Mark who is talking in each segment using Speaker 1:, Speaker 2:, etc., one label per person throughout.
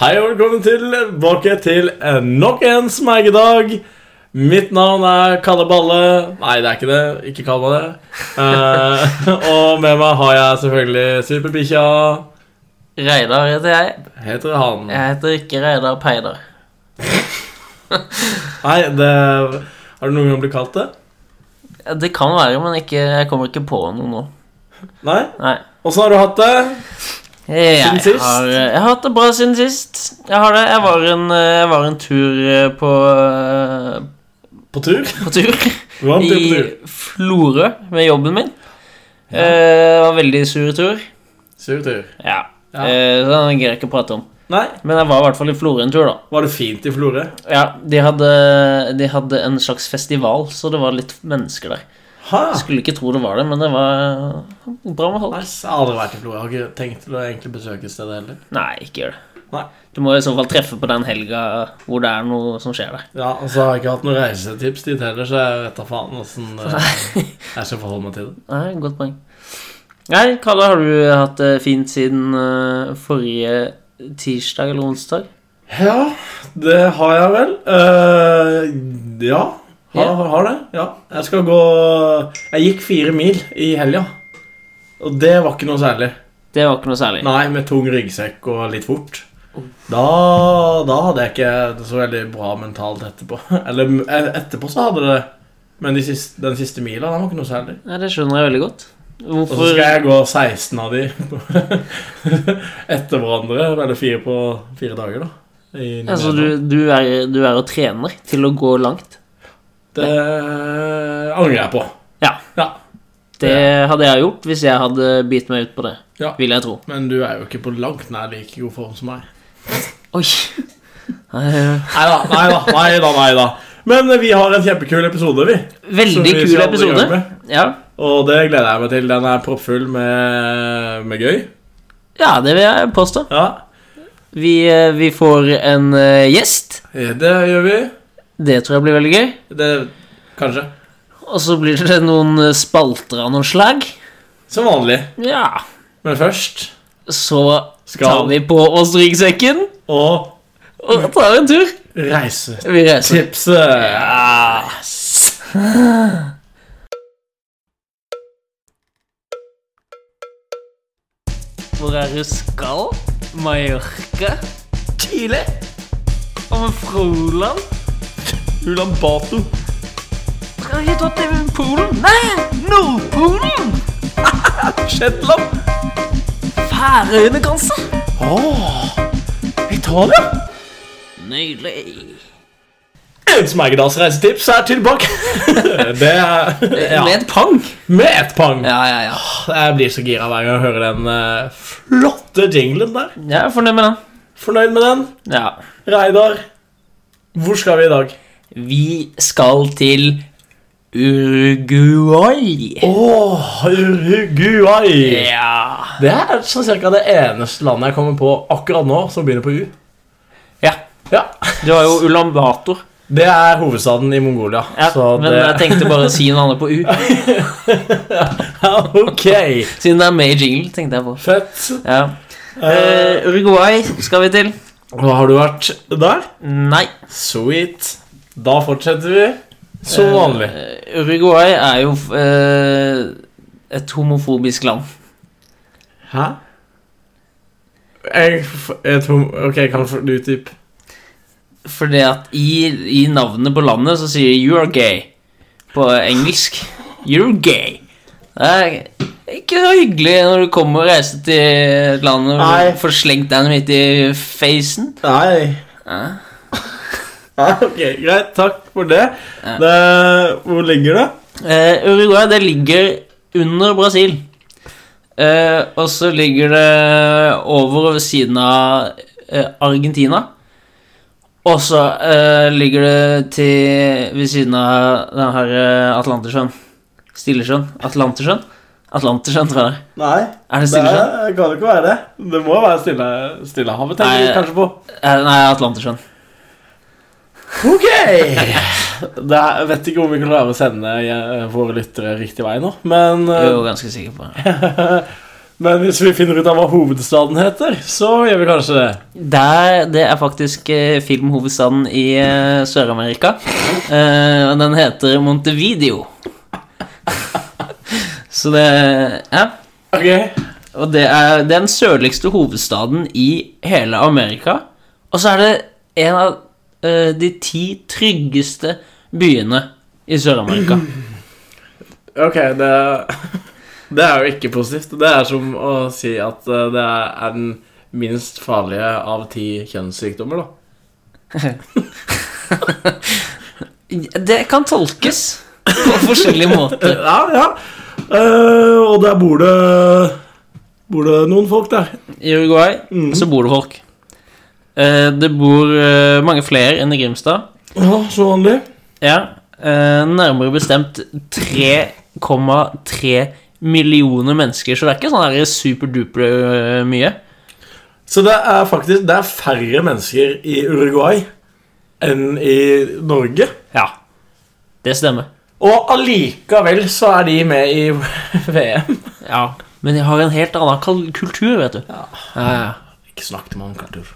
Speaker 1: Hei og velkommen tilbake til eh, nok en smeigedag. Mitt navn er Kalle Balle. Nei, det er ikke det. Ikke kall meg det. Eh, og med meg har jeg selvfølgelig Superbikkja.
Speaker 2: Reidar heter jeg.
Speaker 1: Heter han.
Speaker 2: Jeg heter ikke Reidar Peider.
Speaker 1: Nei, det Har du noen gang blitt kalt det?
Speaker 2: Det kan være, men ikke, jeg kommer ikke på noe nå.
Speaker 1: Nei?
Speaker 2: Nei.
Speaker 1: Åssen har du hatt det?
Speaker 2: Jeg,
Speaker 1: Siden sist?
Speaker 2: Har, eh, jeg har hatt det bra siden sist. Jeg har det. Jeg var en, eh, jeg var en tur eh, på, eh,
Speaker 1: På tur?
Speaker 2: på tur
Speaker 1: Du var en tur på
Speaker 2: i
Speaker 1: tur.
Speaker 2: Florø med jobben min.
Speaker 1: Ja.
Speaker 2: Eh, Det var en veldig sur tur.
Speaker 1: Sur tur.
Speaker 2: Ja.
Speaker 1: Ja.
Speaker 2: Eh, Så den greier jeg ikke å prate om.
Speaker 1: Nei,
Speaker 2: Men jeg var i hvert fall i Florø en tur, da.
Speaker 1: var det fint i Florø?
Speaker 2: Ja, de hadde, de hadde en slags festival, så det var litt mennesker der.
Speaker 1: Ha!
Speaker 2: Jeg skulle ikke tro det var det, men det var bra med
Speaker 1: Ah. Nei,
Speaker 2: folk.
Speaker 1: jeg har aldri vært i Florø. Jeg har ikke tenkt å egentlig besøke stedet heller.
Speaker 2: Nei, ikke gjør det.
Speaker 1: Nei.
Speaker 2: Du må i så fall treffe på den helga hvor det er noe som skjer der.
Speaker 1: Ja, og så har jeg ikke hatt noen reisetips dit heller, så jeg vet da faen eh, åssen jeg skal forholde meg til det.
Speaker 2: Nei, godt poeng. Nei, Kalle, har du hatt det fint siden eh, forrige tirsdag eller onsdag?
Speaker 1: Ja, det har jeg vel. Eh, ja. Har, har det. Ja. Jeg skal gå Jeg gikk fire mil i helga. Og det var ikke noe særlig.
Speaker 2: Det var ikke noe særlig.
Speaker 1: Nei, Oh. med tung ryggsekk og litt fort. Da, da hadde jeg ikke det så veldig bra mentalt etterpå. Eller eh, etterpå så hadde det Men de siste, den siste mila, den var ikke noe særlig.
Speaker 2: Nei, det skjønner jeg veldig godt.
Speaker 1: Og så
Speaker 2: Hvorfor
Speaker 1: skal jeg gå 16 av de etter hverandre. Eller fire på fire dager, da. I
Speaker 2: altså, du, du, er, du er og trener til å gå langt.
Speaker 1: Det eh, angrer jeg på.
Speaker 2: Ja.
Speaker 1: Ja.
Speaker 2: Det hadde jeg gjort hvis jeg hadde bitt meg ut på det,
Speaker 1: Ja.
Speaker 2: vil jeg tro.
Speaker 1: Men du er jo ikke på langt nær like god form som meg.
Speaker 2: Oi. Nei, eh,
Speaker 1: Nei da, nei da. nei da, nei da. Men vi har en kjempekul episode, vi. som vi
Speaker 2: Veldig kul
Speaker 1: skal i gang
Speaker 2: episode.
Speaker 1: med.
Speaker 2: Ja.
Speaker 1: Og det gleder jeg meg til. Den er proppfull med, med gøy.
Speaker 2: Ja, det vil jeg påstå.
Speaker 1: Ja,
Speaker 2: Vi, eh, vi får en eh, gjest.
Speaker 1: Det gjør vi.
Speaker 2: Det tror jeg blir veldig gøy.
Speaker 1: Det Kanskje.
Speaker 2: Og så blir det noen eh, spalter av noen slag.
Speaker 1: Som vanlig.
Speaker 2: Ja.
Speaker 1: Men først
Speaker 2: Så tar
Speaker 1: skal vi
Speaker 2: vi på oss ryggsekken
Speaker 1: og
Speaker 2: og tar en tur.
Speaker 1: reise
Speaker 2: Vi reiser.
Speaker 1: tipset.
Speaker 2: Yes. Hvor er du skal? Mallorca?
Speaker 1: Chile.
Speaker 2: Og med Froland?
Speaker 1: Ulan Bato.
Speaker 2: Skal vi ta til Polen? Nei, Nordpolen!
Speaker 1: Shetland.
Speaker 2: Færøyene, kanskje?
Speaker 1: Åh, Italia.
Speaker 2: Nydelig.
Speaker 1: Smegedals reisetips er tilbake. det er ja.
Speaker 2: Med et pang.
Speaker 1: Med ett pang.
Speaker 2: Ja, ja, ja.
Speaker 1: Jeg blir så gira hver gang jeg hører den eh, flotte jinglen der.
Speaker 2: Jeg er fornøyd med den.
Speaker 1: Fornøyd med den?
Speaker 2: Ja.
Speaker 1: Reidar, hvor skal vi i dag?
Speaker 2: Vi skal til Uruguay.
Speaker 1: Åh, Uruguay.
Speaker 2: Ja.
Speaker 1: Det er sånn cirka det eneste landet jeg kommer på akkurat nå som begynner på U.
Speaker 2: ja.
Speaker 1: Ja,
Speaker 2: Du har jo Ulan Bator.
Speaker 1: Det er hovedstaden i Mongolia.
Speaker 2: Ja,
Speaker 1: så
Speaker 2: men
Speaker 1: det...
Speaker 2: jeg tenkte bare å si noe annet på U.
Speaker 1: ok,
Speaker 2: Siden det er med i jingle, tenkte jeg på.
Speaker 1: fett.
Speaker 2: Ja.
Speaker 1: Eh,
Speaker 2: Eh, Uruguay skal vi til.
Speaker 1: og har du vært der?
Speaker 2: Nei.
Speaker 1: Sweet. Da fortsetter vi som vanlig.
Speaker 2: Eh, Uruguay er jo eh, et homofobisk land.
Speaker 1: Hæ? Jeg, f- jeg tror Ok, kan f- du typ
Speaker 2: Fordi at i, i navnet på landet så sier de 'you're gay' på engelsk. You're gay. Det er ikke så hyggelig når du kommer og reiser til et land og
Speaker 1: Nei.
Speaker 2: får slengt deg midt i facen.
Speaker 1: Nei.
Speaker 2: Ja.
Speaker 1: ok, greit. Takk for det.
Speaker 2: Ja.
Speaker 1: det hvor ligger det?
Speaker 2: Eh, Uruguay, det ligger under Brasil. Eh, og så ligger det over og ved siden av eh, Argentina. Og så eh, ligger det til ved siden av den her eh, Atlantersjøen. Stillesjøen? Atlantersjøen? Atlantersjøen, tror jeg det er.
Speaker 1: Nei.
Speaker 2: Er det Stillesjøen?
Speaker 1: kan ikke være det. Det må være stille, Stillehavet, tenker
Speaker 2: Nei.
Speaker 1: jeg kanskje på.
Speaker 2: Eh, nei, Atlantersjøen.
Speaker 1: Ok! Det er, jeg vet ikke om vi klarer å sende eh, våre lyttere riktig vei nå, men
Speaker 2: Jeg er
Speaker 1: eh,
Speaker 2: jo ganske sikker på det.
Speaker 1: Men hvis vi finner ut av hva hovedstaden heter, så gjør vi kanskje det.
Speaker 2: Der, det er faktisk eh, filmhovedstaden i eh, Sør-Amerika. Eh, og den heter Montevideo. Så det Ja.
Speaker 1: Ok,
Speaker 2: Og det er den sørligste hovedstaden i hele Amerika. Og så er det en av eh, de ti tryggeste byene i Sør-Amerika.
Speaker 1: Ok, det, det er jo ikke positivt. Det er som å si at eh, det er den minst farlige av ti kjønnssykdommer, da.
Speaker 2: Det kan tolkes på forskjellige måter.
Speaker 1: Ja, ja. Eh, og der bor det, bor det noen folk der.
Speaker 2: I Uruguay så bor det folk. Eh, det bor eh, mange flere enn i Grimstad.
Speaker 1: Ja, så vanlig.
Speaker 2: Ja, eh, nærmere bestemt 3,3 millioner mennesker, så det er ikke sånn her superduper eh, mye.
Speaker 1: Så det er faktisk det er færre mennesker i Uruguay enn i Norge.
Speaker 2: Ja, det stemmer.
Speaker 1: Og allikevel så er de med i VM.
Speaker 2: Ja, men jeg har en helt annen kal- kultur, vet du.
Speaker 1: Ja.
Speaker 2: Ja, ja.
Speaker 1: Ikke snakk til meg om kultur.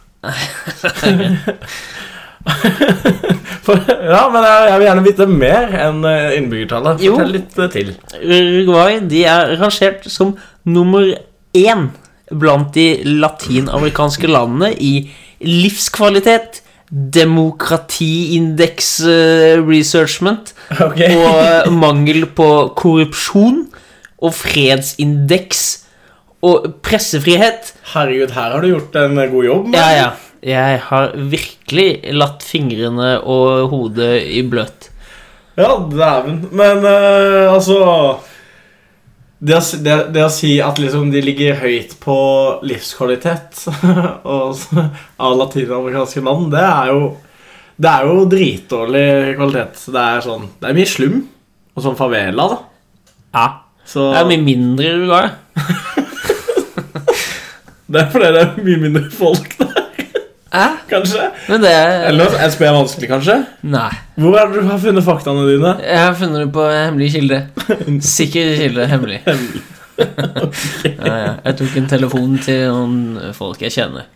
Speaker 1: For, ja, men jeg, jeg vil gjerne vite mer enn eh, innbyggertallet.
Speaker 2: Jo.
Speaker 1: Fortell litt eh, til.
Speaker 2: Uruguay de er rangert som nummer én blant de latinamerikanske landene i livskvalitet, demokratiindeks-researchment
Speaker 1: Ok.
Speaker 2: eh, og eh, mangel på korrupsjon og fredsindex og pressefrihet.
Speaker 1: Herregud, her har du gjort en eh, god jobb. men-
Speaker 2: Ja, ja. Jeg har virkelig latt fingrene og hodet i bløt.
Speaker 1: Ja, dæven. Men eh, altså det å, si- det, det å si at liksom de ligger høyt på livskvalitet og, så- av latinamerikanske land, det er jo Det er jo dritdårlig kvalitet. Det er sånn Det er mye slum. Og sånn favela, da.
Speaker 2: Ja.
Speaker 1: Så
Speaker 2: Det er mye mindre i Uruguay.
Speaker 1: det er fordi det er mye mindre folk der,
Speaker 2: Hæ?
Speaker 1: kanskje.
Speaker 2: Men det er
Speaker 1: Eller SB er vanskelig, kanskje.
Speaker 2: Nei.
Speaker 1: Hvor er det du har funnet faktaene dine?
Speaker 2: Jeg har funnet det på en hemmelig kilde. Sikker kilde. Hemmelig. Ja, ja. Jeg tok en telefon til noen folk jeg kjenner.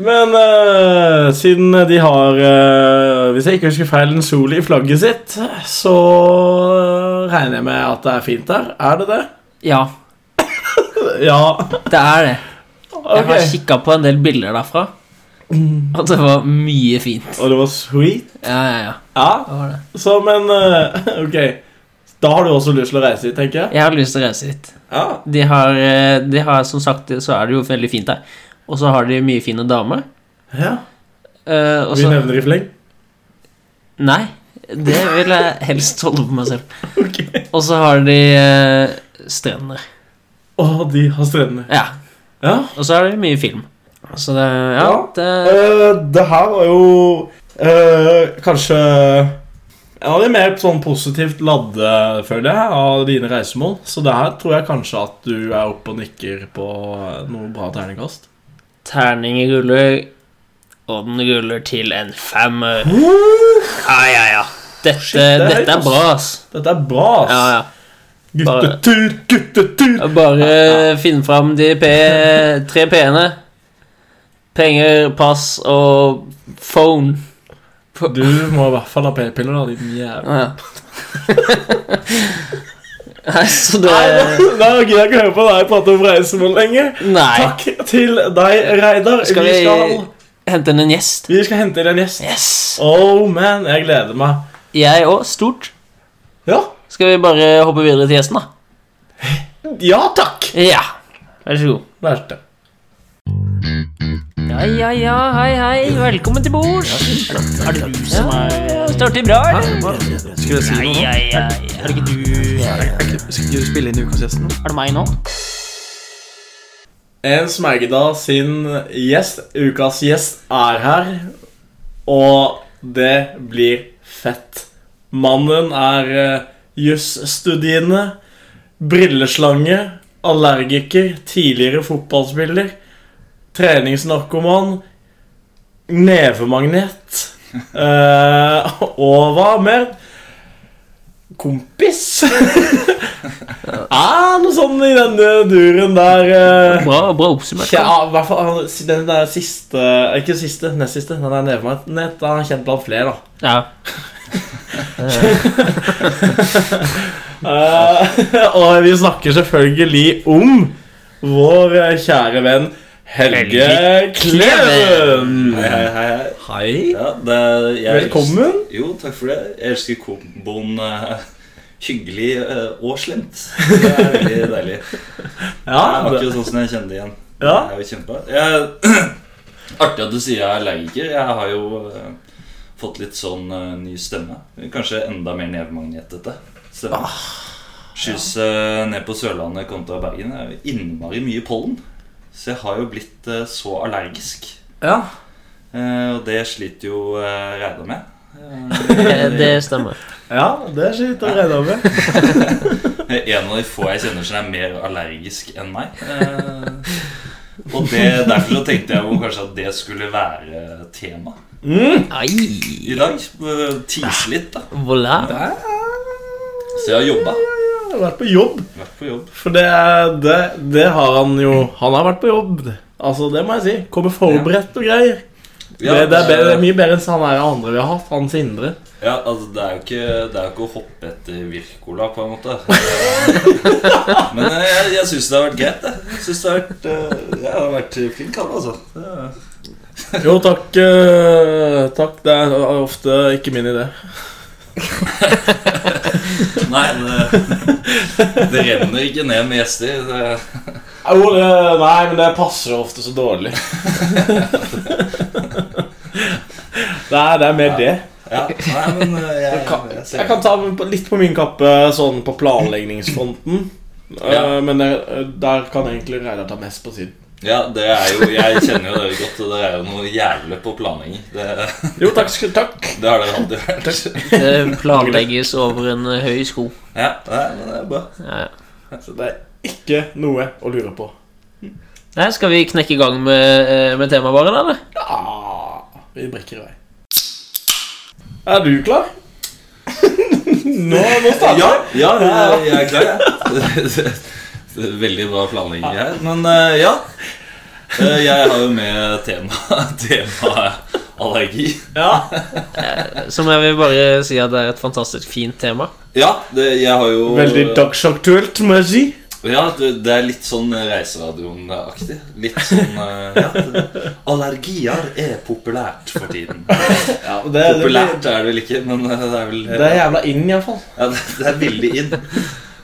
Speaker 1: Men eh, siden de har, eh, hvis jeg ikke husker feil, en sol i flagget sitt, så eh, regner jeg med at det er fint der. Er det det?
Speaker 2: Ja,
Speaker 1: Ja.
Speaker 2: det er det. Jeg
Speaker 1: Ok.
Speaker 2: har kikka på en del bilder derfra. Og det var mye fint.
Speaker 1: Og det var sweet.
Speaker 2: Ja, ja, ja.
Speaker 1: Ja,
Speaker 2: Det var det.
Speaker 1: så men eh, Ok. Da har du også lyst til å reise hit, tenker jeg.
Speaker 2: Jeg har lyst til å reise dit.
Speaker 1: Ja.
Speaker 2: De har, eh, de har som sagt, så er det jo veldig fint der. Og så har de mye fine damer.
Speaker 1: ja.
Speaker 2: Eh, og
Speaker 1: Vi
Speaker 2: så
Speaker 1: nevner i fleng.
Speaker 2: Nei, det vil jeg helst holde på meg selv.
Speaker 1: Ok.
Speaker 2: Og så har de eh, strender.
Speaker 1: Og de har strendene.
Speaker 2: Ja.
Speaker 1: Ja.
Speaker 2: Og så er det mye film. Så det Ja.
Speaker 1: Ja.
Speaker 2: Det,
Speaker 1: Eh, det her var jo eh, kanskje en av de mer sånn positivt ladde, føler jeg, av dine reisemål. Så det her tror jeg kanskje at du er oppe og nikker på eh, noe bra terningkast.
Speaker 2: terninger ruller, og den ruller til en femmer. Ja, ja, ja. Dette,
Speaker 1: Shit, det er høyt,
Speaker 2: dette er
Speaker 1: ass.
Speaker 2: bra, ass.
Speaker 1: Dette er bra, ass.
Speaker 2: Ja, ja. bare-
Speaker 1: Guttetut, guttetut.
Speaker 2: Bare finn fram de P tre P-ene. Penger, pass og phone.
Speaker 1: Du må i hvert fall ha p-piller, da, din jævel.
Speaker 2: Ja. Nei, så det
Speaker 1: Nei, da gidder jeg ikke høre på deg prate om reisemål lenger.
Speaker 2: Nei.
Speaker 1: Takk til deg, Reidar.
Speaker 2: Skal
Speaker 1: vi,
Speaker 2: vi-
Speaker 1: skal,
Speaker 2: Hente inn en gjest.
Speaker 1: vi skal hente inn en gjest.
Speaker 2: Yes!
Speaker 1: Oh man, jeg gleder meg.
Speaker 2: Jeg òg. Stort.
Speaker 1: Ja,
Speaker 2: Skal vi bare hoppe videre til gjesten, da?
Speaker 1: ja takk.
Speaker 2: Ja. Vær så god.
Speaker 1: Lærte.
Speaker 2: Ja, ja, ja, hei, hei, velkommen til bords. Er det du som er ja, Står til bra, eller?
Speaker 3: Skulle jeg si noe nå?
Speaker 2: Ja, ja, ja. Er det ikke du Er
Speaker 3: Skulle du spille inn ukas gjest nå?
Speaker 2: det meg nå?
Speaker 1: En Smergedal sin gjest, ukas gjest, er her. Og det blir fett. Mannen er eh, jusstudiende, brilleslange, allergiker, tidligere fotballspiller, treningsnarkoman, nevemagnet eh, og hva mer? kompis? ah, noe sånn i denne duren der. eh.
Speaker 2: Bra, bra oppsummert.
Speaker 1: Kje- Ja, i hvert fall han- den der siste Ikke siste, nest siste. Den er nede for meg. Nett, han er kjent blant flere, da.
Speaker 2: Ja.
Speaker 1: Eh, og vi snakker selvfølgelig om vår eh, kjære venn Helge
Speaker 2: Helge
Speaker 1: Kleven.
Speaker 4: Hei, hei, hei. hei.
Speaker 1: Hei.
Speaker 4: Ja, det, jeg,
Speaker 1: Velkommen.
Speaker 4: Jo, takk for det. Jeg elsker komboen eh, hyggelig eh, og slemt. Det er veldig deilig.
Speaker 1: Ja,
Speaker 4: Det var
Speaker 1: Ah, det,
Speaker 4: ikke sånn som jeg kjente igjen.
Speaker 1: Ja.
Speaker 4: Det er jo kjempe. Jeg, artig at du sier jeg er allergiker. Jeg har jo eh, fått litt sånn eh, ny stemme. Kanskje enda mer nevemagnetete stemme.
Speaker 1: Ah,
Speaker 4: Skyse ned på Sørlandet kontra Bergen er jo innmari mye pollen. Så jeg har jo blitt eh, så allergisk.
Speaker 1: ja.
Speaker 4: Eh, Og det sliter jo eh, Reidar med.
Speaker 2: Eh, Det stemmer.
Speaker 1: ja, det er skitt å redde over.
Speaker 4: En av de få jeg kjenner som er mer allergisk enn meg. Eh, Og det, derfor så tenkte jeg jo kanskje at det skulle være tema
Speaker 1: Mm.
Speaker 2: Ai,
Speaker 4: i dag. Eh, Tease litt, da.
Speaker 2: voilà.
Speaker 4: Så jeg har jobba.
Speaker 1: Jeg har vært på jobb.
Speaker 4: Vært på jobb.
Speaker 1: For det, er- det, det har han jo. Han har vært på jobb. Altså, Det må jeg si. Kommer forberedt og greier. det, det, er bedre, det er mye bedre enn han er andre vi har hatt. Han Sindre.
Speaker 4: Ja, altså Det er jo ikke, det er jo ikke å hoppe etter Wirkola, på en måte. Men eh, jeg, jeg syns det har vært greit, jeg. Jeg synes det har vært, eh, jeg har vært flink, han, altså. Det-
Speaker 1: Jo, takk. eh, takk. Det er ofte ikke min idé.
Speaker 4: Nei, det, det renner ikke ned med gjester. Det,
Speaker 1: Jo, det, nei, men det passer ofte så dårlig. nei, det er mer det.
Speaker 4: ja, nei, men eh, jeg,
Speaker 1: kan-
Speaker 4: jeg ser
Speaker 1: Jeg kan ta på- litt på min kappe sånn på planleggingsfronten. Eh,
Speaker 4: Ja.
Speaker 1: Men der, der kan egentlig Reidar ta mest på siden.
Speaker 4: Ja, det er jo, jeg kjenner jo dere godt, og dere er jo noe jævlig på planlegging. Det,
Speaker 1: Jo, takk. skal- takk.
Speaker 4: det har dere alltid vært.
Speaker 2: Det planlegges over en eh, høy sko.
Speaker 4: Ja, nei, men det er bra.
Speaker 2: Ja, ja.
Speaker 1: Så det er ikke noe å lure på.
Speaker 2: Nei, skal vi knekke i gang med, eh, med temaet vårt, eller?
Speaker 1: Ja, vi brekker i vei. Er du klar? nå, nå starter
Speaker 4: Ja,
Speaker 1: jeg.
Speaker 4: ja jeg, jeg er klar, jeg. Det er Veldig bra planlegging her. Men eh, ja. Eh, Jeg har jo med tema, tema allergi.
Speaker 1: Ja.
Speaker 2: Som jeg vil bare si at det er et fantastisk fint tema.
Speaker 4: Ja, det, jeg har jo
Speaker 1: Veldig dagsaktuelt, må jeg si.
Speaker 4: Ja, det, det er litt sånn Reiseradioen-aktig. Litt sånn eh, ja, det- Allergier er populært for tiden.
Speaker 1: Ja, det, det, blir-
Speaker 4: Populært er det vel ikke, men eh, det er vel
Speaker 1: det er jævla inn, iallfall.
Speaker 4: ja, det, det er veldig inn.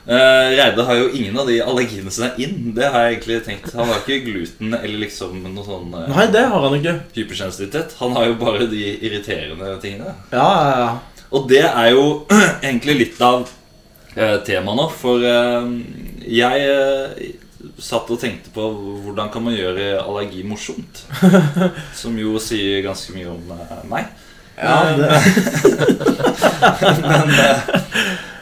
Speaker 4: Uh, Reide har jo ingen av de allergiene som er inn. Det har jeg egentlig tenkt Han har ikke gluten eller liksom noe sånn eh,
Speaker 1: Nei, det har han ikke.
Speaker 4: hypersensitivitet. Han har jo bare de irriterende tingene.
Speaker 1: Ja, ja, ja.
Speaker 4: Og det er jo egentlig litt av eh, temaet nå, for eh, jeg eh, satt og tenkte på hvordan kan man gjøre allergi morsomt? Som jo sier ganske mye om eh, meg.
Speaker 1: Ja, det,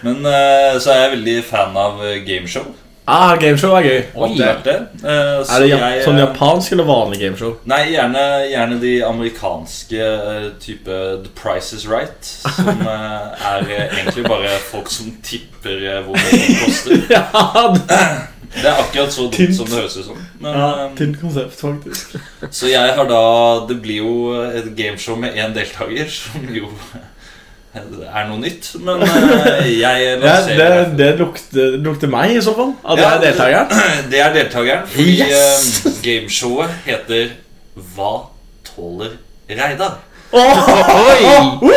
Speaker 4: Men eh, så er jeg veldig fan av eh, gameshow.
Speaker 1: ah, gameshow er gøy.
Speaker 2: Oi.
Speaker 4: Alltid vært det. Eh, så
Speaker 1: Er det ja,
Speaker 4: jeg, eh,
Speaker 1: sånn japansk eller vanlig gameshow?
Speaker 4: Nei, gjerne, gjerne de amerikanske eh, type The Price is Right. Som eh, er eh, egentlig bare folk som tipper eh, hvor mye det koster.
Speaker 1: Ja, det
Speaker 4: Det er akkurat så dumt
Speaker 1: Tynt.
Speaker 4: som det høres ut som. Men,
Speaker 1: ja,
Speaker 4: eh,
Speaker 1: Tynt konsept, faktisk.
Speaker 4: så jeg har da Det blir jo et gameshow med én deltaker, som jo er noe nytt. Men eh, jeg
Speaker 1: Ja, det,
Speaker 4: lanserer
Speaker 1: det lukter, lukter meg, i så fall. At
Speaker 4: Ja,
Speaker 1: jeg er deltakeren.
Speaker 4: Det er deltakeren, fordi
Speaker 1: Yes!
Speaker 4: eh, gameshowet heter Hva tåler Reidar?
Speaker 1: Åh, oh,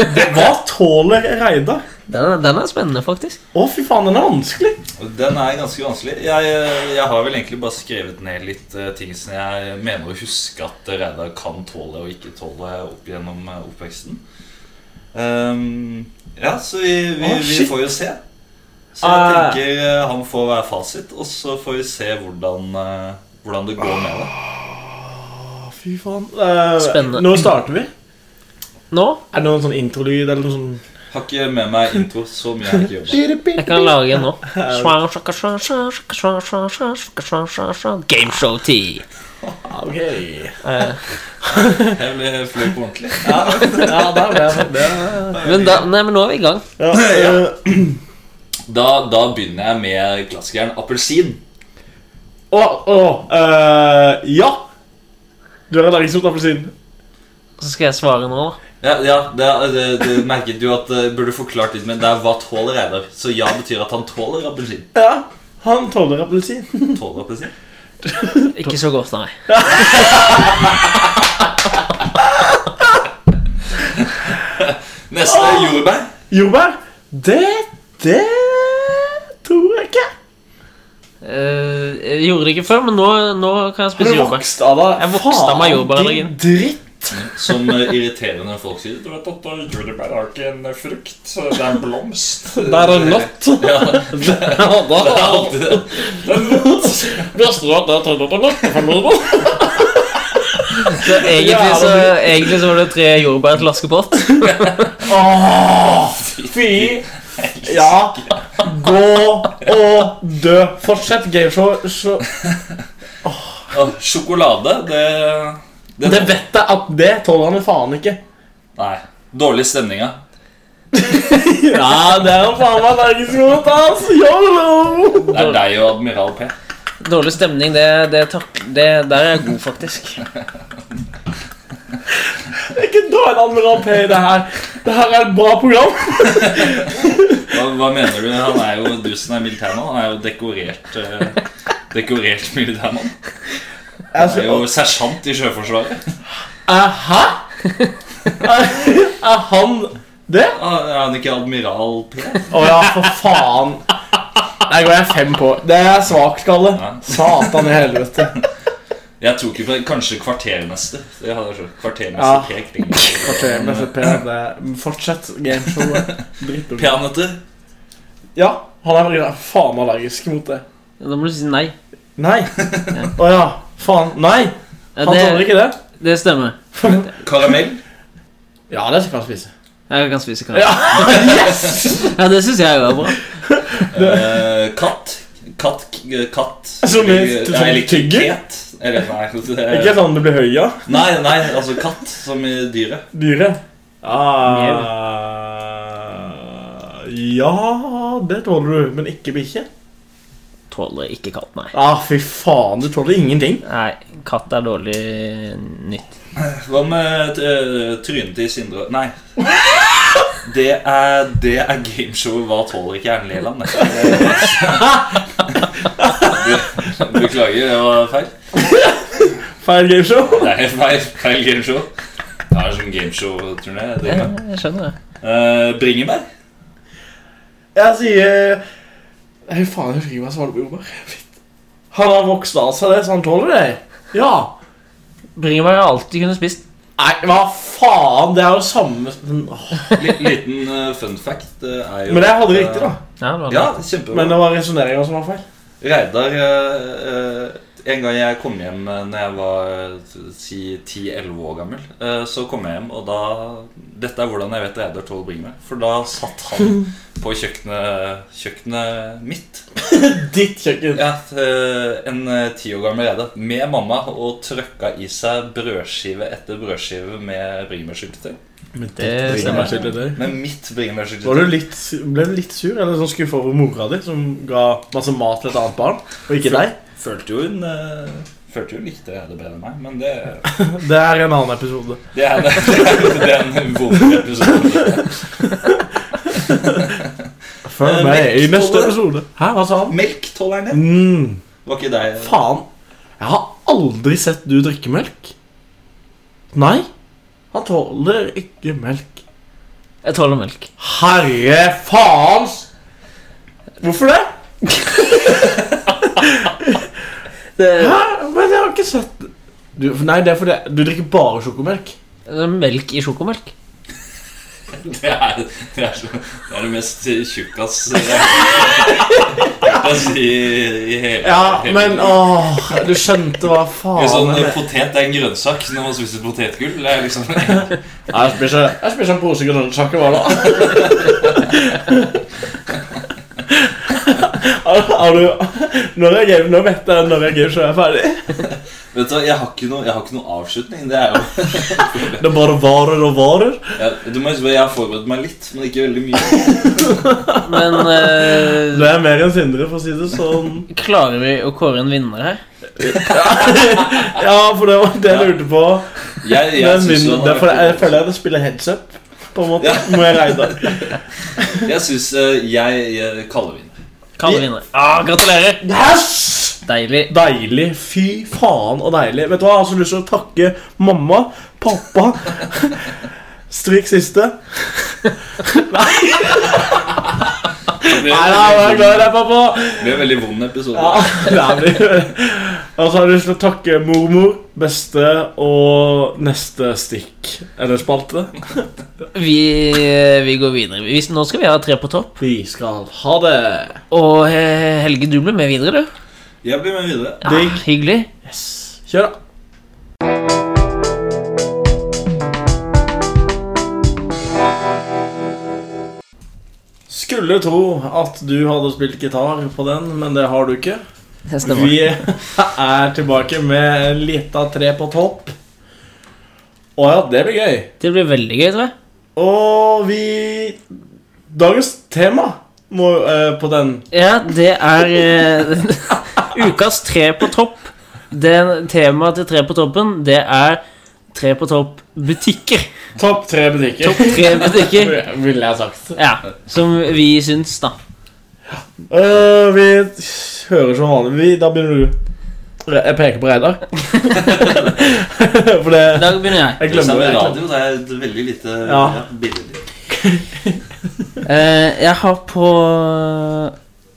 Speaker 1: det, hva tåler Reidar?
Speaker 2: Den er, den er spennende, faktisk.
Speaker 1: Å, fy faen, den er vanskelig.
Speaker 4: Og Den er ganske vanskelig. Jeg, eh, jeg har vel egentlig bare skrevet ned litt eh, ting som jeg mener å huske at Reidar kan tåle og ikke tåle opp gjennom eh, oppveksten. Ehm, ja, så vi, vi,
Speaker 1: Å,
Speaker 4: vi
Speaker 1: shit.
Speaker 4: får jo se. Så jeg
Speaker 1: Ah.
Speaker 4: tenker eh, han får være fasit, og så får vi se hvordan, eh, hvordan det går med det.
Speaker 1: Å, fy faen. Eh,
Speaker 2: Spennende.
Speaker 1: Nå starter vi.
Speaker 2: Nå?
Speaker 1: Er det noen sånn introlyd eller noe sånn
Speaker 4: Har ikke med meg intro så mye jeg har ikke jobba.
Speaker 2: Jeg kan lage en nå. Gameshow-tid.
Speaker 1: Ok.
Speaker 2: Eh,
Speaker 4: Jeg ble fløy på ordentlig.
Speaker 1: Ja, der ble jeg det.
Speaker 2: Men, da, nei, men nå er vi i gang.
Speaker 1: Ja, eh,
Speaker 4: Da, da begynner jeg med klassikeren appelsin.
Speaker 1: Å, å, eh, ja. Du er allergisk mot appelsin.
Speaker 2: Så skal jeg svare nå, da.
Speaker 4: Ja, ja det, det, det merket du at eh, burde forklart litt, men det er hva tåler Reidar. Så ja betyr at han tåler appelsin.
Speaker 1: Ja, han tåler appelsin.
Speaker 4: Tåler appelsin.
Speaker 2: Ikke så godt, nei.
Speaker 4: Neste er jordbær.
Speaker 1: Jordbær? Det Det tror jeg ikke.
Speaker 2: Eh, jeg gjorde det ikke før, men nå, nå kan jeg
Speaker 1: Har
Speaker 2: spise
Speaker 1: du
Speaker 2: jordbær.
Speaker 1: vokst av deg?
Speaker 2: Jeg vokste av meg jordbærallergien.
Speaker 1: Din dritt.
Speaker 4: Som eh, irriterende folk sier. Du vet at eh, jordbær er ikke en eh, frukt, det er en blomst.
Speaker 1: Det er en nøtt.
Speaker 4: Ja, det er alltid det. Det er en nøtt.
Speaker 2: Så egentlig, så, egentlig så var det tre jordbær i et laskepott.
Speaker 1: Åh, fy Ja, gå og dø. Fortsett gameshow. Så,
Speaker 4: Og sjokolade, det, det,
Speaker 1: det vet jeg at det tåler han jo faen ikke.
Speaker 4: Nei. Dårlig stemning, ja.
Speaker 1: Ja, det er han faen meg allergisk mot, ass. Yolo!
Speaker 4: Det er deg og Admiral P.
Speaker 2: Dårlig stemning, det, det, tak, det Der er jeg god, faktisk.
Speaker 1: Det er ikke dårlig Admiral P i det her. Det her er et bra program.
Speaker 4: Hva, hva mener du? Han er jo, Du som er militærmann, han er jo dekorert eh, Dekorert militærmann.
Speaker 1: Altså,
Speaker 4: Han er jo sersjant i Sjøforsvaret.
Speaker 1: Eh, Hæ? Er er han det?
Speaker 4: Ah, Er han ikke Admiral P?
Speaker 1: Å ja, for faen. Der går jeg fem på. Det er svakt, Kalle.
Speaker 4: Ja.
Speaker 1: Satan i helvete.
Speaker 4: Jeg tror ikke på det. Kanskje kvartermester. Det hadde jeg skjønt.
Speaker 1: Ja.
Speaker 4: Kvartermester P kring.
Speaker 1: Fortsett med FP. Det er- Fortsett gameshowet. Dritt.
Speaker 4: Peanøtter.
Speaker 1: Ja, han er veldig- faen allergisk mot det.
Speaker 2: Da må du si nei.
Speaker 1: Nei. Å ja. Faen. Nei!
Speaker 2: Ja,
Speaker 1: Han tåler
Speaker 2: det,
Speaker 1: ikke det.
Speaker 2: det stemmer.
Speaker 4: Karamell.
Speaker 1: Ja, det skal han spise.
Speaker 2: Jeg kan spise kaffe.
Speaker 1: Ja, yes!
Speaker 2: Ja, det syns jeg jo er bra.
Speaker 4: Eh, katt. Katt k- Katt
Speaker 1: Som er-
Speaker 4: Eller-
Speaker 1: som
Speaker 4: nei, eller
Speaker 1: tygger?
Speaker 4: ket. Eller nei,
Speaker 1: Ikke
Speaker 4: det-
Speaker 1: sånn du blir høy av.
Speaker 4: nei, nei, altså katt som i dyret.
Speaker 1: Dyret. Ah, ja, det tåler du, men ikke bikkje.
Speaker 2: Tåler ikke katt, nei.
Speaker 1: Ah, fy faen, du tåler ingenting.
Speaker 2: Nei, katt er dårlig nytt.
Speaker 4: Hva med eh, trynet til Sindre Nei. Det er, det er gameshowet Hva tåler ikke Erlend Leland? det. Du- Beklager, det var feil.
Speaker 1: Feil gameshow.
Speaker 4: Det er feil, feil gameshow. Det er sånn gameshow-turné. jeg driver med.
Speaker 2: Jeg skjønner det.
Speaker 4: Eh, Bringebær?
Speaker 1: Jeg sier Hei, faen, jeg husker ikke hva jeg svarte på jordbær. Shit. Han har vokst av seg det, så han tåler det. Ja.
Speaker 2: Bringebær har jeg alltid kunnet spist.
Speaker 1: Nei, hva faen? Det er jo samme men- åh.
Speaker 4: Li- Liten eh, fun fact eh, er jo
Speaker 1: Men jeg hadde
Speaker 4: at,
Speaker 1: riktig, da.
Speaker 2: Ja, det
Speaker 4: eh,
Speaker 2: var det.
Speaker 4: Ja,
Speaker 1: Men
Speaker 4: kjempebra.
Speaker 1: det var resonneringa som var feil.
Speaker 4: Reidar eh, eh, En gang jeg kom hjem eh, Når jeg var eh, si 10-11 år gammel, eh, så kom jeg hjem, og da Dette er hvordan jeg vet Reidar tåler bringebær. For da satt han på kjøkkenet, kjøkkenet mitt.
Speaker 1: Ditt kjøkken.
Speaker 4: Ja, eh, en eh, ti år gammel Reidar med mamma og trøkka i seg brødskive eter brødskive med bringebærsyltetøy.
Speaker 1: Men
Speaker 2: Det stemmer.
Speaker 4: Med mitt
Speaker 1: Var du
Speaker 4: bringebærsyltetøy.
Speaker 1: litt, ble du litt sur eller sånn skuffa over mora di, som ga masse mat til et annet barn, og ikke deg?
Speaker 4: Følte jo hun eh, Følte jo hun likte Reidar bedre enn meg, men det
Speaker 1: Det er en annen episode.
Speaker 4: Det er, det er, det er en vond episode.
Speaker 1: Følg
Speaker 4: Eh,
Speaker 1: med i
Speaker 4: melk
Speaker 1: neste
Speaker 4: tåler-
Speaker 1: episode. Hæ, hva sa han?
Speaker 4: Melk tåler han det.
Speaker 1: Mm,
Speaker 4: Var ikke deg
Speaker 1: faen. Jeg har aldri sett du drikke melk. Nei. Han tåler ikke melk.
Speaker 2: Jeg tåler melk.
Speaker 1: Herre faens! Hvorfor det?
Speaker 2: Det,
Speaker 1: Hæ? Men jeg har ikke sett du, Nei, det er fordi du drikker bare sjokomelk.
Speaker 2: det er melk i sjokomelk.
Speaker 4: Det er det, er, så- det, er det mest tjukkas jeg har hørt deg si i- i hele
Speaker 1: Ja,
Speaker 4: hele-
Speaker 1: men åh, du skjønte hva
Speaker 4: Det
Speaker 1: faen
Speaker 4: er sånn,
Speaker 1: det-
Speaker 4: Potet er en grønnsak når man spiser potetgull. Det er liksom
Speaker 1: Nei, Jeg spiser, jeg spiser en pose grønnsaker hver dag. Ja, Har, har du, nå reagerer nå vet jeg når jeg ikke er ferdig.
Speaker 4: Vet du hva, jeg har ikke noe, jeg har ikke noen avslutning. Det er jo
Speaker 1: Det bare varer og varer.
Speaker 4: jeg, Du må huske på at jeg har forberedt meg litt, men ikke veldig mye.
Speaker 2: Men
Speaker 1: Du
Speaker 2: eh,
Speaker 1: er mer enn Sindre, for å si det sånn.
Speaker 2: klarer vi å kåre en vinner her?
Speaker 1: Ja, for det var det jeg lurte på.
Speaker 4: Jeg,
Speaker 1: Det
Speaker 4: jeg,
Speaker 1: er
Speaker 4: synes
Speaker 1: min,
Speaker 4: jo han har
Speaker 1: det er fordi jeg
Speaker 4: vært-
Speaker 1: føler jeg det spiller heads up, på en måte.
Speaker 4: Ja.
Speaker 1: Må jeg regne.
Speaker 4: jeg syns eh, jeg, jeg kaller vinner.
Speaker 2: Kalle vinner. Ah, gratulerer!
Speaker 1: Yes!
Speaker 2: Deilig.
Speaker 1: Deilig. Fy faen og deilig. Vet du hva, Jeg har så lyst til å takke mamma, pappa Stryk siste.
Speaker 4: Det blir
Speaker 1: Nei,
Speaker 4: en
Speaker 1: nei, jeg er
Speaker 4: veldig
Speaker 1: glad i
Speaker 4: vond-
Speaker 1: deg, pappa.
Speaker 4: det blir en veldig vond episode.
Speaker 1: Ja, det blir Og så har jeg lyst til å takke mormor, beste og neste stikk. Eller spalte.
Speaker 2: Vi, eh, vi går videre. Vi, nå skal vi ha tre på topp.
Speaker 1: Vi skal ha det.
Speaker 2: Og eh, Helge, du blir med videre, du.
Speaker 4: Jeg blir med videre.
Speaker 2: Ja,
Speaker 1: Digg.
Speaker 2: hyggelig.
Speaker 1: Yes. Kjør, da. Skulle tro at du hadde spilt gitar på den, men det har du ikke.
Speaker 2: Det stemmer.
Speaker 1: Vi er tilbake med en lita tre på topp. Å ja, det blir gøy.
Speaker 2: Det blir veldig gøy, tror jeg.
Speaker 1: Og vi Dagens tema må, eh, på den
Speaker 2: Ja, det er eh, ukas tre på topp. Det Temaet til Tre på toppen, det er Tre på topp-butikker.
Speaker 1: Topp tre butikker.
Speaker 2: Topp tre butikker.
Speaker 1: Ville jeg sagt.
Speaker 2: Ja, Som vi syns, da.
Speaker 1: Eh, vi hører som vanlig. Vi, da begynner du. Re- Jeg peker på Reidar. For
Speaker 2: I
Speaker 1: det
Speaker 2: dag begynner jeg.
Speaker 1: Jeg
Speaker 4: Jeg
Speaker 1: glemmer
Speaker 4: glemmer
Speaker 1: det.
Speaker 4: radio, det er et veldig lite ja.
Speaker 1: Ja.
Speaker 4: billig.
Speaker 2: Eh, jeg har på